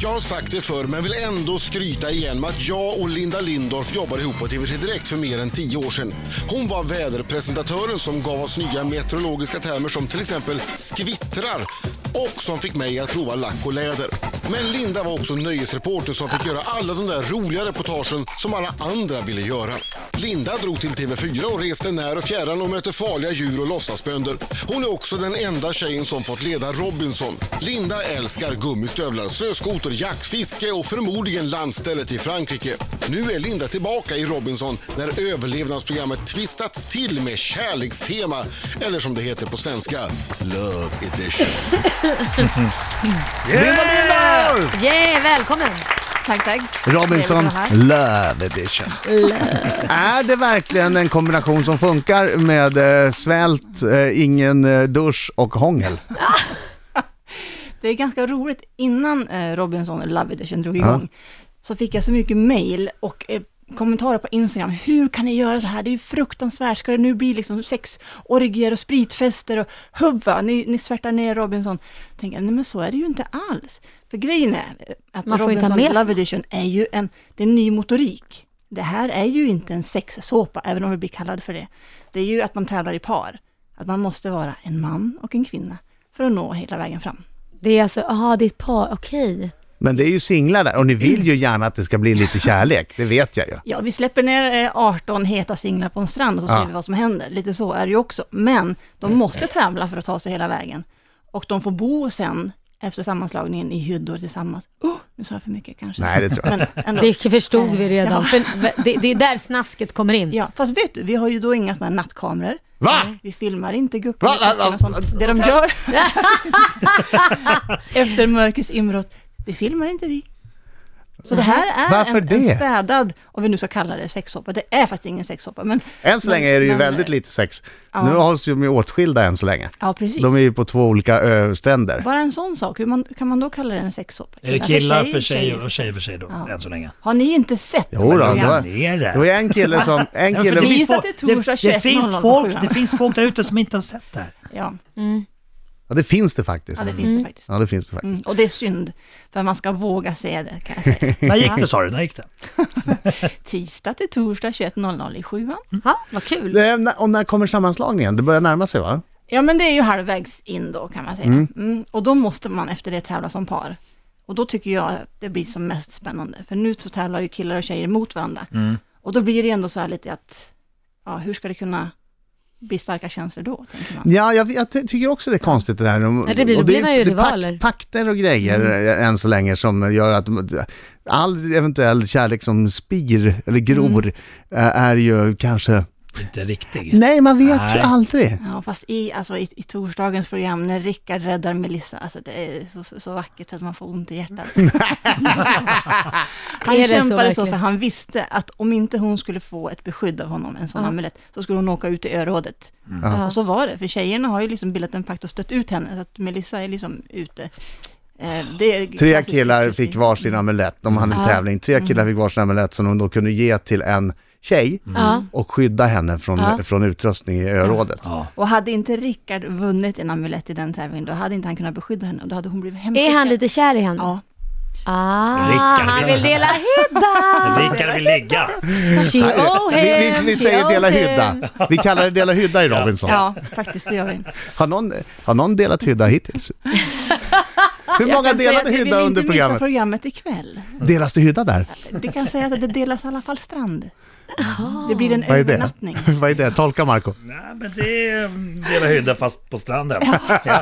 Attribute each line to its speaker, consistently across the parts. Speaker 1: Jag har sagt det förr, men vill ändå skryta igen med att jag och Linda Lindorff jobbade ihop på TV3 Direkt för mer än tio år sedan. Hon var väderpresentatören som gav oss nya meteorologiska termer som till exempel skvittrar och som fick mig att prova lack och läder. Men Linda var också nöjesreporter som fick göra alla de där roliga reportagen som alla andra ville göra. Linda drog till TV4 och reste när och fjärran och mötte farliga djur och låtsasbönder. Hon är också den enda tjejen som fått leda Robinson. Linda älskar gummistövlar, snöskoter, jakt, fiske och förmodligen landstället i Frankrike. Nu är Linda tillbaka i Robinson när överlevnadsprogrammet twistats till med kärlekstema, eller som det heter på svenska, Love Edition.
Speaker 2: Yeah, välkommen! Tack, tack.
Speaker 3: Robinson
Speaker 2: Trevligt att vara här.
Speaker 3: Love Edition. Är det verkligen en kombination som funkar med eh, svält, eh, ingen eh, dusch och hångel?
Speaker 4: Det är ganska roligt, innan eh, Robinson Love Edition drog
Speaker 3: Ja.
Speaker 4: igång, så fick jag så mycket mail och eh, kommentarer på Instagram. Hur kan ni göra så här? Det är ju fruktansvärt. Ska det nu bli liksom sex, orgier och spritfester och huvva, ni, ni svärtar ner Robinson. Jag tänker, nej men så är det ju inte alls. För grejen är eh, att
Speaker 2: Man får inte ha
Speaker 4: Robinson
Speaker 2: med sig
Speaker 4: Love Edition är ju en, det är en ny motorik. Det här är ju inte en sexsåpa, även om vi blir kallad för det. Det är ju att man tävlar i par. Att man måste vara en man och en kvinna för att nå hela vägen fram.
Speaker 2: Det är alltså, jaha, det är ett par, okej.
Speaker 3: Men det är ju singlar där och ni vill ju gärna att det ska bli lite kärlek, det vet jag ju.
Speaker 4: Ja, vi släpper ner eh, 18 heta singlar på en strand och så
Speaker 3: Ja. Mm.
Speaker 4: ser vi vad som händer. Lite så är det ju också. Men de måste tävla för att ta sig hela vägen. Och de får bo sen, efter sammanslagningen, i hyddor tillsammans. Oh, nu sa jag för mycket kanske.
Speaker 3: Nej, det tror jag
Speaker 4: Men ändå.
Speaker 2: Det förstod vi redan.
Speaker 4: Ja.
Speaker 2: För det, det är där snasket kommer in.
Speaker 4: Ja, fast vet du, vi har ju då inga sådana här nattkameror.
Speaker 3: Va?
Speaker 4: Vi filmar inte guppor.
Speaker 3: Va, va, va,
Speaker 4: och sånt. Det de gör efter mörkrets inbrott, det filmar inte vi. Så det här är
Speaker 3: Varför
Speaker 4: en, en
Speaker 3: det?
Speaker 4: städad, om vi nu ska kalla det sexsoppa. Det är faktiskt ingen sexsoppa, men...
Speaker 3: Än så
Speaker 4: men-
Speaker 3: länge är det ju
Speaker 4: men-
Speaker 3: väldigt lite sex.
Speaker 4: Ja.
Speaker 3: Nu hålls de ju åtskilda än så länge.
Speaker 4: Ja, precis.
Speaker 3: De är ju på två olika ö, stränder.
Speaker 4: Bara en sån sak, hur man, kan man då kalla det en sexsoppa?
Speaker 5: Är det killar för sig och tjejer för sig då,
Speaker 4: Ja.
Speaker 5: än så länge?
Speaker 4: Har ni inte sett?
Speaker 3: Jo då, det var-
Speaker 5: Det är
Speaker 3: Det var
Speaker 5: det.
Speaker 3: ju en kille som... En
Speaker 5: Nej, men för
Speaker 3: kille...
Speaker 4: det- Visa
Speaker 5: folk-
Speaker 4: till torsdag
Speaker 5: det, det,
Speaker 4: 21.00
Speaker 5: finns folk, det finns folk där ute som inte har sett det här.
Speaker 4: Ja,
Speaker 3: Ja, det finns det faktiskt.
Speaker 4: ja det finns det faktiskt.
Speaker 3: Ja, det finns det faktiskt.
Speaker 4: Mm. Och det är synd, för man ska våga se det kan jag säga.
Speaker 5: När gick det sa du? När gick det?
Speaker 4: Tisdag till torsdag 21.00 i sjuan.
Speaker 2: Ja, vad kul.
Speaker 3: Det är- Eh, när- Och när kommer sammanslagningen? Det börjar närma sig va?
Speaker 4: Ja, men det är ju halvvägs in då kan man säga. Mm. Och då måste man efter det tävla som par. Och då tycker jag att det blir som mest spännande. För nu så tävlar ju killar och tjejer mot varandra. Och då blir det ändå så här lite att, ja, hur ska det kunna bli starka känslor då? Tänker man.
Speaker 3: Ja, jag, jag ty- tycker också det är konstigt det där.
Speaker 2: Ja, det blir-
Speaker 3: och
Speaker 2: då blir man ju
Speaker 3: det är pakt-
Speaker 2: rivaler. Mm.
Speaker 3: pakter och grejer eh, än så länge som gör att all eventuell kärlek som spir eller gror
Speaker 2: Mm.
Speaker 3: eh, är ju kanske...
Speaker 5: Inte riktigt.
Speaker 3: Nej, man vet ju
Speaker 5: Nej.
Speaker 3: aldrig.
Speaker 4: Ja, fast i, alltså, i, i torsdagens program när Rickard räddar Melissa, alltså det är så, så, så vackert så att man får ont i hjärtat. han
Speaker 2: Är det så
Speaker 4: kämpade så,
Speaker 2: verkligen?
Speaker 4: för han visste att om inte hon skulle få ett beskydd av honom, en sån
Speaker 2: Ja.
Speaker 4: amulett, så skulle hon åka ut i örådet.
Speaker 2: Ja.
Speaker 4: Och så var det, för tjejerna har ju liksom bildat en pakt och stött ut henne, så att Melissa är liksom ute. Eh, det är
Speaker 3: Tre
Speaker 4: klassisk
Speaker 3: killar
Speaker 4: utfrysning.
Speaker 3: fick varsin amulett, de hade en
Speaker 2: Ja. Mm.
Speaker 3: tävling. Tre killar fick varsin amulett som de då kunde ge till en tjej
Speaker 2: Mm. Ja.
Speaker 3: och skydda henne från,
Speaker 2: Ja.
Speaker 3: från utrustning i örådet.
Speaker 5: Ja.
Speaker 4: Och hade inte Rickard vunnit en amulett i den tävlingen, då hade inte han kunnat beskydda henne, och då hade hon blivit hemskickad.
Speaker 2: Är han lite kär i henne?
Speaker 4: Ja.
Speaker 2: Ah,
Speaker 5: Rickard.
Speaker 2: han vill dela hydda!
Speaker 5: Rickard vill ligga.
Speaker 2: She owe
Speaker 3: Vi,
Speaker 2: him,
Speaker 3: vi, vi
Speaker 2: she
Speaker 3: säger dela
Speaker 2: owes him.
Speaker 3: hydda. Vi kallar det dela hydda i Robinson.
Speaker 4: Ja, faktiskt, det gör vi.
Speaker 3: Har någon, har någon delat hydda hittills? Hur många
Speaker 4: Jag kan säga att
Speaker 3: delade hydda under
Speaker 4: Vi vill inte missa
Speaker 3: programmet?
Speaker 4: programmet ikväll.
Speaker 3: Delas det hydda där?
Speaker 4: Det kan sägas att det delas i alla fall strand. Det blir en
Speaker 3: Vad är det?
Speaker 4: övernattning.
Speaker 3: Vad är det? Tolka Marco.
Speaker 5: Nej, men det är dela hydda fast på stranden.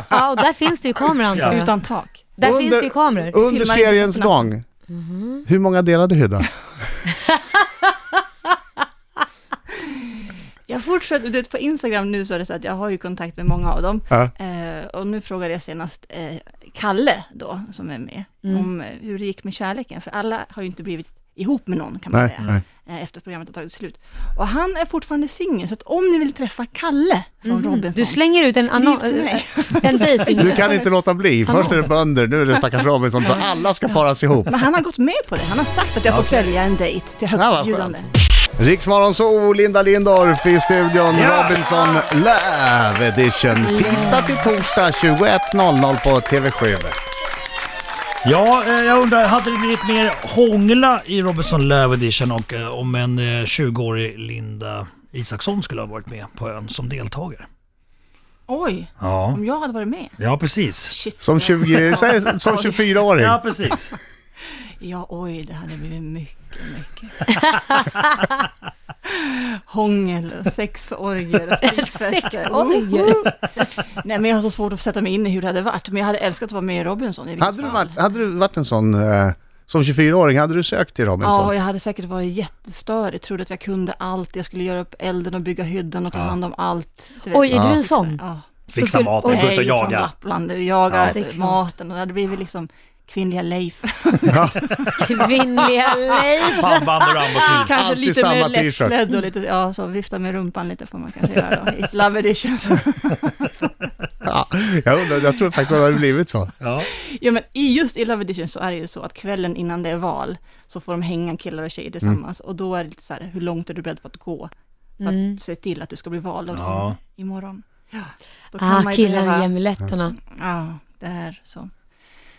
Speaker 2: Ja, och där finns det ju kameror antar jag.
Speaker 4: Utan tak.
Speaker 2: Där
Speaker 3: Under-
Speaker 2: finns det ju kameror.
Speaker 3: Under
Speaker 4: Filmar
Speaker 3: seriens
Speaker 4: inte på
Speaker 3: gång, hur många delade hydda?
Speaker 4: Jag fortsätter, du vet på Instagram nu så är det så att jag har ju kontakt med många av dem.
Speaker 3: Ja.
Speaker 4: Eh, och nu frågade jag senast eh, Kalle då, som är med,
Speaker 2: Mm.
Speaker 4: om eh, hur det gick med kärleken. För alla har ju inte blivit ihop med någon kan man
Speaker 3: Nej,
Speaker 4: säga.
Speaker 3: nej.
Speaker 4: eh, Efter programmet har tagit slut. Och han är fortfarande singel, så att om ni vill träffa Kalle från Robinson,
Speaker 2: Mm-hmm. Du slänger ut en
Speaker 4: skriv
Speaker 2: annan...
Speaker 4: till mig.
Speaker 2: En dejting.
Speaker 3: Du kan inte låta bli. Först är det bönder, nu är det stackars Robinson. Så alla ska paras ihop.
Speaker 4: Men han har gått med på det. Han har sagt att jag får sälja en dejt till
Speaker 3: Ja, vad
Speaker 4: högsta
Speaker 3: skönt.
Speaker 4: bjudande.
Speaker 3: Riksmorgon så Linda Lindorff i studion,
Speaker 5: Ja!
Speaker 3: Robinson Love Edition. Tisdag till torsdag 21.00 på TV7.
Speaker 5: Ja, eh, jag undrar, hade det blivit mer hångla i Robinson Love Edition och eh, om en eh, 20-årig Linda Isaksson skulle ha varit med på ön som deltagare?
Speaker 4: Oj,
Speaker 5: Ja,
Speaker 4: om jag hade varit med.
Speaker 5: ja precis.
Speaker 4: Shit.
Speaker 3: Som, 20, säg, som 24-åring.
Speaker 5: Ja, precis.
Speaker 4: Ja, oj, det hade blivit mycket, mycket. Hångel, sexorger, spritfester.
Speaker 2: Sexorger.
Speaker 4: Nej, men jag har så svårt att sätta mig in i hur det hade varit. Men jag hade älskat att vara med i Robinson i vilket
Speaker 3: Hade du,
Speaker 4: fall.
Speaker 3: varit, hade du varit en sån, eh, som 24-åring, hade du sökt till Robinson?
Speaker 4: Ja, jag hade säkert varit jättestörig. Trodde att jag kunde allt. Jag skulle göra upp elden och bygga hyddan och ta hand om allt. Du vet.
Speaker 2: Oj, är du en sån?
Speaker 4: Ja.
Speaker 5: Fixa maten, gå
Speaker 4: Nej,
Speaker 5: ut och
Speaker 4: från
Speaker 5: jaga.
Speaker 4: Lappland. Jaga
Speaker 2: det är klart.
Speaker 4: maten och det hade blivit liksom kvinnliga Leif.
Speaker 2: Kvinnliga Leif.
Speaker 5: Pannband och Rambo-kniv.
Speaker 4: Kanske
Speaker 3: Alltid
Speaker 4: lite
Speaker 3: samma
Speaker 4: mer
Speaker 3: t-shirt.
Speaker 4: lättklädd och lite, ja, så vifta med rumpan lite får man kanske göra då. I Love edition.
Speaker 3: Ja, jag, undrar, jag tror faktiskt att det hade blivit så.
Speaker 5: Ja.
Speaker 4: Ja men i just i Love Edition så är det ju så att kvällen innan det är val så får de hänga killar och tjejer tillsammans och då är det lite så här, hur långt är du beredd på att gå för
Speaker 2: Mm.
Speaker 4: att se till att du ska bli vald av
Speaker 5: Ja.
Speaker 4: dem imorgon? Ja, då kan
Speaker 2: Ah,
Speaker 4: man ju
Speaker 2: killarna
Speaker 4: behöva-
Speaker 2: i amuletterna.
Speaker 4: Ja, det är så.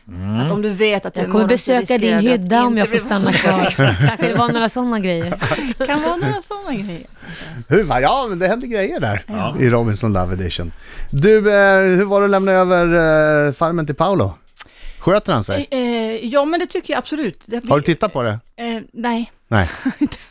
Speaker 5: Mm.
Speaker 4: Att om du vet att du
Speaker 2: Jag kommer
Speaker 4: imorgon så
Speaker 2: besöka din
Speaker 4: riskerar du att
Speaker 2: hydda om
Speaker 4: inte
Speaker 2: jag får
Speaker 4: bli
Speaker 2: stanna
Speaker 4: vald.
Speaker 2: kvar. Kanske det var några sådana grejer.
Speaker 4: Det kan vara några sådana grejer.
Speaker 3: Hur, va? ja, men det hände grejer där
Speaker 5: Ja.
Speaker 3: i Robinson Love Edition. Du, eh, hur var det att lämna över eh, farmen till Paolo? Sköter han sig?
Speaker 4: Eh, eh, Ja men det tycker jag absolut. Det
Speaker 3: Har du
Speaker 4: blir-
Speaker 3: tittat på det?
Speaker 4: eh, Nej.
Speaker 3: Nej.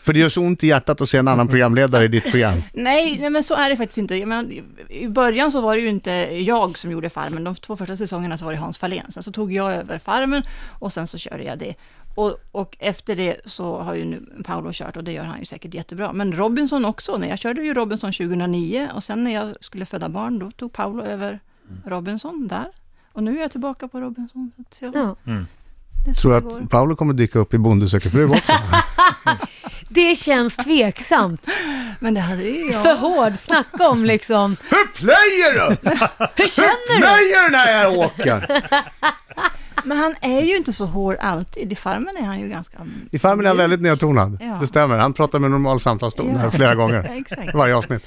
Speaker 3: För det gör så ont i hjärtat att se en annan programledare i ditt program.
Speaker 4: Nej, nej, men så är det faktiskt inte. Jag menar, i- I början så var det ju inte jag som gjorde Farmen. De två första säsongerna så var det Hans Fahlén. Sen så tog jag över Farmen och sen så körde jag det. Och, och efter det så har ju nu Paolo kört och det gör han ju säkert jättebra. Men Robinson också. När jag körde ju Robinson 2009 och sen när jag skulle föda barn då tog Paolo över
Speaker 3: Mm.
Speaker 4: Robinson där. Och nu är jag tillbaka på Robinson. Så att jag,
Speaker 2: Ja.
Speaker 4: det är så
Speaker 3: Tror du
Speaker 4: det går.
Speaker 3: att Paolo kommer dyka upp i Bonde söker fru också?
Speaker 2: Det känns tveksamt.
Speaker 4: Men det hade ju
Speaker 2: För
Speaker 4: jag.
Speaker 2: hård. Snacka om liksom.
Speaker 3: Hur plöjer du?
Speaker 2: Hur känner du?
Speaker 3: Plöjer när jag åker?
Speaker 4: Men han är ju inte så hård alltid. I Farmen är han ju ganska...
Speaker 3: I farmen är han väldigt nedtonad.
Speaker 4: Ja.
Speaker 3: Det stämmer. Han pratar med normal samtalston här flera
Speaker 4: Ja,
Speaker 3: gånger.
Speaker 4: exakt.
Speaker 3: i Varje avsnitt.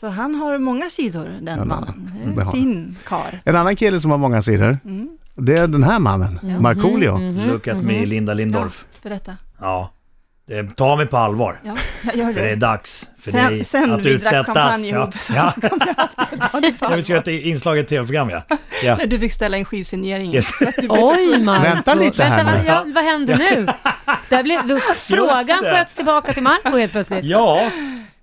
Speaker 4: Så han har många sidor, den
Speaker 3: det-
Speaker 4: mannen. Det är
Speaker 3: det
Speaker 4: En
Speaker 3: har
Speaker 4: fin kar.
Speaker 3: En annan kille som har många sidor,
Speaker 4: Mm.
Speaker 3: det är den här mannen, Markoolio.
Speaker 5: Look at me, Linda Lindorff.
Speaker 4: mhm. Berätta.
Speaker 5: Ja. Det, ta mig på allvar.
Speaker 4: Ja, jag gör
Speaker 5: För det är
Speaker 4: det.
Speaker 5: dags för
Speaker 4: Sen-
Speaker 5: dig
Speaker 4: sen
Speaker 5: att
Speaker 4: vi drack
Speaker 5: utsättas.
Speaker 4: champagne
Speaker 5: Ja.
Speaker 4: ihop så
Speaker 5: Ja. Ja, vi ska göra ett inslag i ett tv-program ja. ja.
Speaker 4: När du fick ställa in skivsigneringen.
Speaker 5: Yes.
Speaker 2: Oj Marco.
Speaker 3: Vänta lite här
Speaker 2: Vänta,
Speaker 3: nu.
Speaker 2: vad, ja, vad händer nu? Där blev, då, frågan
Speaker 5: det.
Speaker 2: sköts tillbaka till Marco helt plötsligt.
Speaker 5: Ja.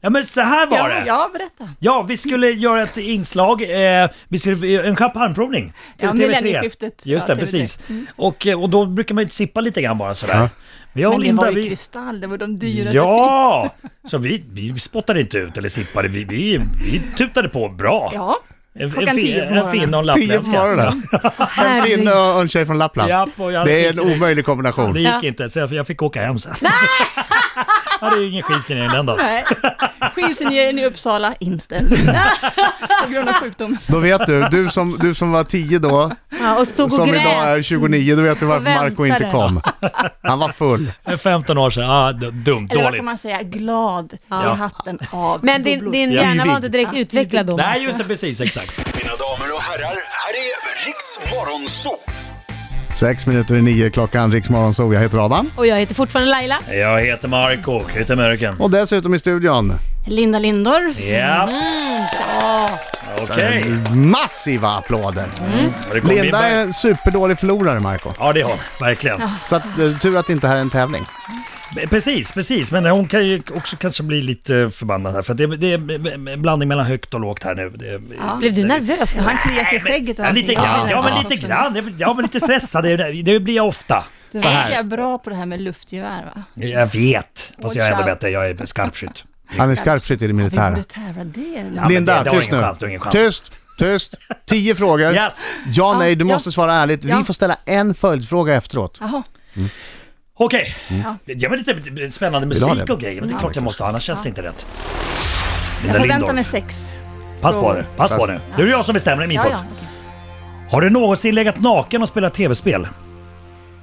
Speaker 5: ja, men så här var
Speaker 4: Ja,
Speaker 5: det.
Speaker 4: ja, berätta.
Speaker 5: Ja, vi skulle göra ett inslag, eh, vi skulle, en champagneprovning.
Speaker 4: Ja,
Speaker 5: TV3.
Speaker 4: millennieskiftet.
Speaker 5: Just det,
Speaker 4: Ja, TV3.
Speaker 5: precis.
Speaker 4: Mm.
Speaker 5: Och, eh, och då brukar man ju sippa lite grann bara sådär.
Speaker 3: Ja.
Speaker 5: Men jag och
Speaker 4: Men det
Speaker 5: Linda,
Speaker 4: var ju
Speaker 5: vi...
Speaker 4: kristall, det var de dyraste
Speaker 5: Ja! Så vi, vi spottade inte ut eller sippade, vi, vi, vi tutade på bra.
Speaker 4: fi- Ja,
Speaker 5: En,
Speaker 4: klockan
Speaker 5: en, fi-
Speaker 4: tio på
Speaker 5: en
Speaker 4: morgonen.
Speaker 5: fin och en
Speaker 3: Tio på
Speaker 5: lappländska.
Speaker 3: morgonen. En
Speaker 2: Herregud.
Speaker 3: finne och en tjej från
Speaker 5: Ja.
Speaker 3: Lappland.
Speaker 5: Japp, och jag,
Speaker 3: Det är en omöjlig kombination.
Speaker 5: Det gick
Speaker 2: Ja.
Speaker 5: inte, så jag, jag fick åka hem sen. Jag hade ju ingen skivsignering den dagen.
Speaker 4: nej. Skivsigneringen i Uppsala inställd. På grund av sjukdom.
Speaker 3: Då vet du, du som, du som var 10 då,
Speaker 2: Ja, och stod och
Speaker 3: som
Speaker 2: grät.
Speaker 3: idag är 29, då vet du varför
Speaker 2: väntade.
Speaker 3: Marco inte kom. Han var full.
Speaker 5: Det är 15 år sedan, ah, d- dumt,
Speaker 4: Eller vad
Speaker 5: dåligt.
Speaker 4: kan man säga, glad i hatten av
Speaker 2: Men din,
Speaker 4: bubblor.
Speaker 2: din
Speaker 5: Ja.
Speaker 2: hjärna var inte direkt utvecklad då.
Speaker 5: Nej, just det, precis, exakt.
Speaker 6: Mina damer och herrar, här är Riks Morgonzoo!
Speaker 3: Sex minuter i nio klockan, Riksmorgon så jag heter Adam.
Speaker 2: Och jag heter fortfarande Laila.
Speaker 5: Jag heter Marco, heter Mörken.
Speaker 3: Och dessutom i studion,
Speaker 4: Linda Lindorff.
Speaker 5: Ja. Okej.
Speaker 3: massiva applåder.
Speaker 5: Och det kom in
Speaker 3: Mm. Linda
Speaker 5: bara-
Speaker 3: är en superdålig förlorare Marco.
Speaker 5: Ja, det har hon. Verkligen.
Speaker 3: Så att, eh, tur att det inte här är en tävling.
Speaker 5: B- Precis, precis. Men hon kan ju också kanske bli lite förbannad här. För att det, det är en blandning mellan högt och lågt här nu. Det,
Speaker 2: Blev du nervös nu?
Speaker 4: Han kliar sig i skägget och
Speaker 5: Ja, lite
Speaker 4: allting.
Speaker 5: grann. Ja, men lite grann. Det- Ja, men lite stressad. Det, det blir jag ofta.
Speaker 4: Du
Speaker 3: Så här.
Speaker 4: vet jag är bra på det här med luftgevär va?
Speaker 5: Jag vet. Fast jag är ändå
Speaker 4: Watch out.
Speaker 5: bättre. Jag är skarpskytt.
Speaker 3: Han är skarpskytt i det
Speaker 4: Vi borde
Speaker 3: militära.
Speaker 4: tävla det.
Speaker 5: Ja, men
Speaker 3: Linda,
Speaker 5: det- det har
Speaker 3: tyst
Speaker 5: ingen
Speaker 3: nu.
Speaker 5: chans, det har ingen chans.
Speaker 3: Tyst, tyst. Tio frågor.
Speaker 5: Yes!
Speaker 3: Ja, nej, du
Speaker 4: ja.
Speaker 3: måste svara ärligt. Vi
Speaker 4: Ja.
Speaker 3: får ställa en följdfråga efteråt.
Speaker 4: Jaha.
Speaker 5: Okej.
Speaker 4: Ja.
Speaker 5: Ja, men lite spännande
Speaker 3: Mm. du ha
Speaker 5: musik
Speaker 3: det?
Speaker 5: och grejer. Men det är klart jag måste, annars känns det inte rätt.
Speaker 4: Jag
Speaker 5: Linda
Speaker 4: förväntar mig
Speaker 5: Lindorff,
Speaker 4: sex.
Speaker 5: pass på det. Pass på
Speaker 3: Pass.
Speaker 5: nu. Det är jag som bestämmer i min
Speaker 4: Ja,
Speaker 5: podd.
Speaker 4: ja, okej.
Speaker 5: Har du någonsin legat naken och spelat tv-spel?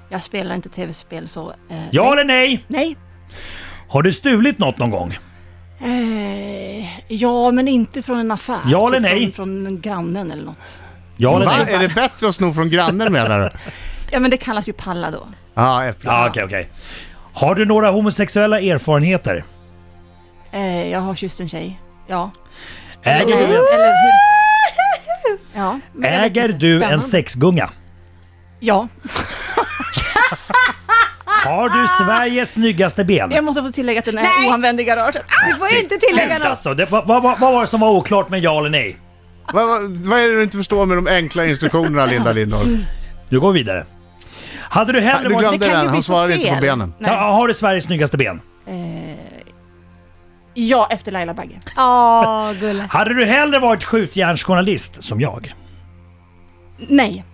Speaker 4: Jag spelar inte tv-spel så... Eh,
Speaker 5: Ja
Speaker 4: nej.
Speaker 5: eller nej?
Speaker 4: nej.
Speaker 5: Har du stulit något någon gång?
Speaker 4: Eh, ja, men inte från en affär.
Speaker 5: Ja eller nej?
Speaker 4: Från, från grannen eller något.
Speaker 5: Ja eller
Speaker 3: Va?
Speaker 5: nej?
Speaker 3: Är det bättre att sno från grannen menar du?
Speaker 4: Ja men det kallas ju palla då.
Speaker 3: Ja, äpplen.
Speaker 5: Ja, okej, okej. Har du några homosexuella erfarenheter?
Speaker 4: Eh, jag har kysst en tjej. Ja.
Speaker 5: Äger
Speaker 4: Eller-
Speaker 5: du,
Speaker 4: eller hur? Ja. men jag vet
Speaker 5: äger
Speaker 4: inte.
Speaker 5: du en
Speaker 2: Spännande.
Speaker 5: sexgunga?
Speaker 4: Eh, Ja.
Speaker 5: Har du Sveriges snyggaste ben?
Speaker 4: Ah. Jag måste få tillägga att den är
Speaker 2: Nej.
Speaker 4: oanvänd i garaget.
Speaker 2: Du får inte tillägga
Speaker 5: Gud,
Speaker 2: något.
Speaker 5: Alltså, det, vad, vad, vad var det som var oklart med ja eller nej?
Speaker 3: Vad, vad, vad är det du inte förstår med de enkla instruktionerna, Linda Lindholm?
Speaker 5: Nu går vi vidare. Hade du
Speaker 3: Nej,
Speaker 5: hellre
Speaker 3: Du
Speaker 5: varit...
Speaker 3: glömde
Speaker 4: kan ju
Speaker 3: den,
Speaker 4: bli
Speaker 3: han
Speaker 4: så
Speaker 3: svarade inte på
Speaker 4: fel.
Speaker 3: benen.
Speaker 5: Ja, har du Sveriges snyggaste ben?
Speaker 4: Eh, ja, efter Laila Bagge.
Speaker 2: Åh, gulle.
Speaker 5: Hade du hellre varit skjutjärnsjournalist som jag?
Speaker 4: Nej.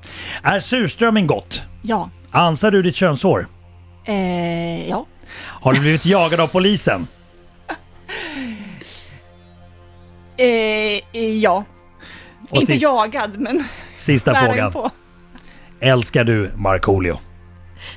Speaker 5: Är surströmming gott?
Speaker 4: Ja.
Speaker 5: Ansar du ditt könshår?
Speaker 4: Eh, ja.
Speaker 5: Har du blivit jagad av polisen?
Speaker 4: Eh, eh, ja.
Speaker 5: Och
Speaker 4: inte
Speaker 5: sist-
Speaker 4: jagad, men
Speaker 5: Sista
Speaker 4: nära
Speaker 5: frågan.
Speaker 4: på.
Speaker 5: Älskar du Markoolio?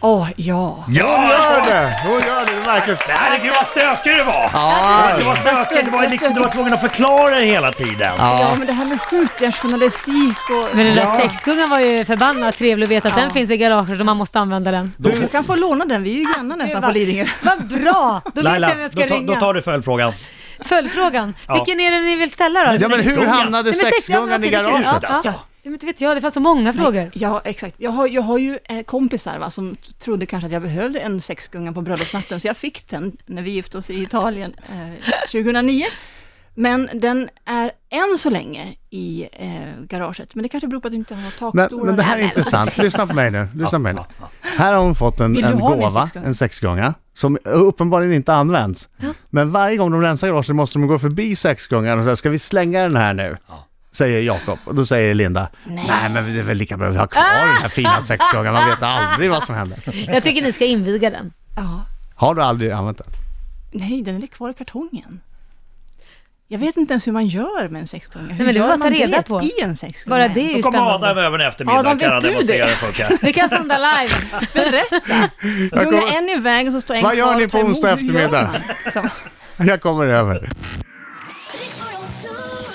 Speaker 4: Åh, ja.
Speaker 5: Ja!
Speaker 3: Hon gör det! Hon gör det, det märks.
Speaker 5: Herregud vad stökig du var!
Speaker 3: Ja,
Speaker 5: Du var stökig, du var, liksom, du var tvungen att förklara det hela tiden.
Speaker 4: Ja, men det här med skjutjärnsjournalistik och...
Speaker 2: Men den där
Speaker 5: Ja.
Speaker 2: sexgungan var ju förbannat trevlig att veta att
Speaker 4: Ja.
Speaker 2: den finns i garaget och man måste använda den.
Speaker 4: Du kan få låna den, vi är ju grannar nästan på Lidingö.
Speaker 2: Vad bra! Då vet jag
Speaker 5: Laila,
Speaker 2: vem jag
Speaker 5: då,
Speaker 2: ska
Speaker 5: ta,
Speaker 2: ringa.
Speaker 5: då tar du följdfrågan.
Speaker 2: Följdfrågan.
Speaker 5: Ja.
Speaker 2: Vilken är det ni vill ställa då?
Speaker 3: ja men hur
Speaker 5: sexgungan.
Speaker 3: hamnade
Speaker 2: Nej, men
Speaker 3: sexgungan i
Speaker 2: sexgungan var
Speaker 3: garaget?
Speaker 2: Ja, ja. Men inte vet jag, det fanns så många frågor.
Speaker 4: Ja, exakt. Jag har, jag har ju eh, kompisar va, som t- trodde kanske att jag behövde en sexgunga på bröllopsnatten, så jag fick den när vi gifte oss i Italien eh, 2009. Men den är än så länge i eh, garaget, men det kanske beror på att du inte har
Speaker 3: Men,
Speaker 4: takstolar.
Speaker 3: men det här är
Speaker 4: eller-
Speaker 3: intressant. Lyssna på mig nu. Lyssna på mig nu. Här har hon fått en,
Speaker 4: Vill du
Speaker 3: en
Speaker 4: ha min
Speaker 3: gåva,
Speaker 4: sexgång?
Speaker 3: en sexgånga, som uppenbarligen inte används. Men varje gång de rensar garaget måste de gå förbi sexgångan och säga, ska vi slänga den här nu? Säger Jakob. Och då säger Linda, nej. men det är väl lika bra vi har kvar den här fina sexgångan, man vet aldrig vad som händer.
Speaker 2: Jag tycker ni ska inviga den.
Speaker 4: Ja.
Speaker 3: Har du aldrig använt den?
Speaker 4: Nej, den är kvar i kartongen. Jag vet inte ens hur man gör med en sexgunga. Hur
Speaker 2: men det är
Speaker 4: gör
Speaker 2: bara att
Speaker 4: man
Speaker 2: ta reda
Speaker 4: det
Speaker 2: på.
Speaker 4: i en sexgunga?
Speaker 2: Bara det är
Speaker 5: Då
Speaker 2: ju
Speaker 5: kommer Adam
Speaker 2: spännande.
Speaker 5: över en eftermiddag
Speaker 4: Adam,
Speaker 5: kan han
Speaker 4: vet du det?
Speaker 5: demonstrera hur det funkar.
Speaker 2: Vi kan sända live.
Speaker 4: Gunga
Speaker 3: kommer-
Speaker 4: en i vägen så står en
Speaker 3: Vad gör
Speaker 4: kvar och
Speaker 3: ni på
Speaker 4: tar emot.
Speaker 3: onsdag
Speaker 4: Hur gör
Speaker 3: eftermiddag?
Speaker 4: man? Så.
Speaker 3: Jag kommer över.
Speaker 7: Riks Morgonzoo.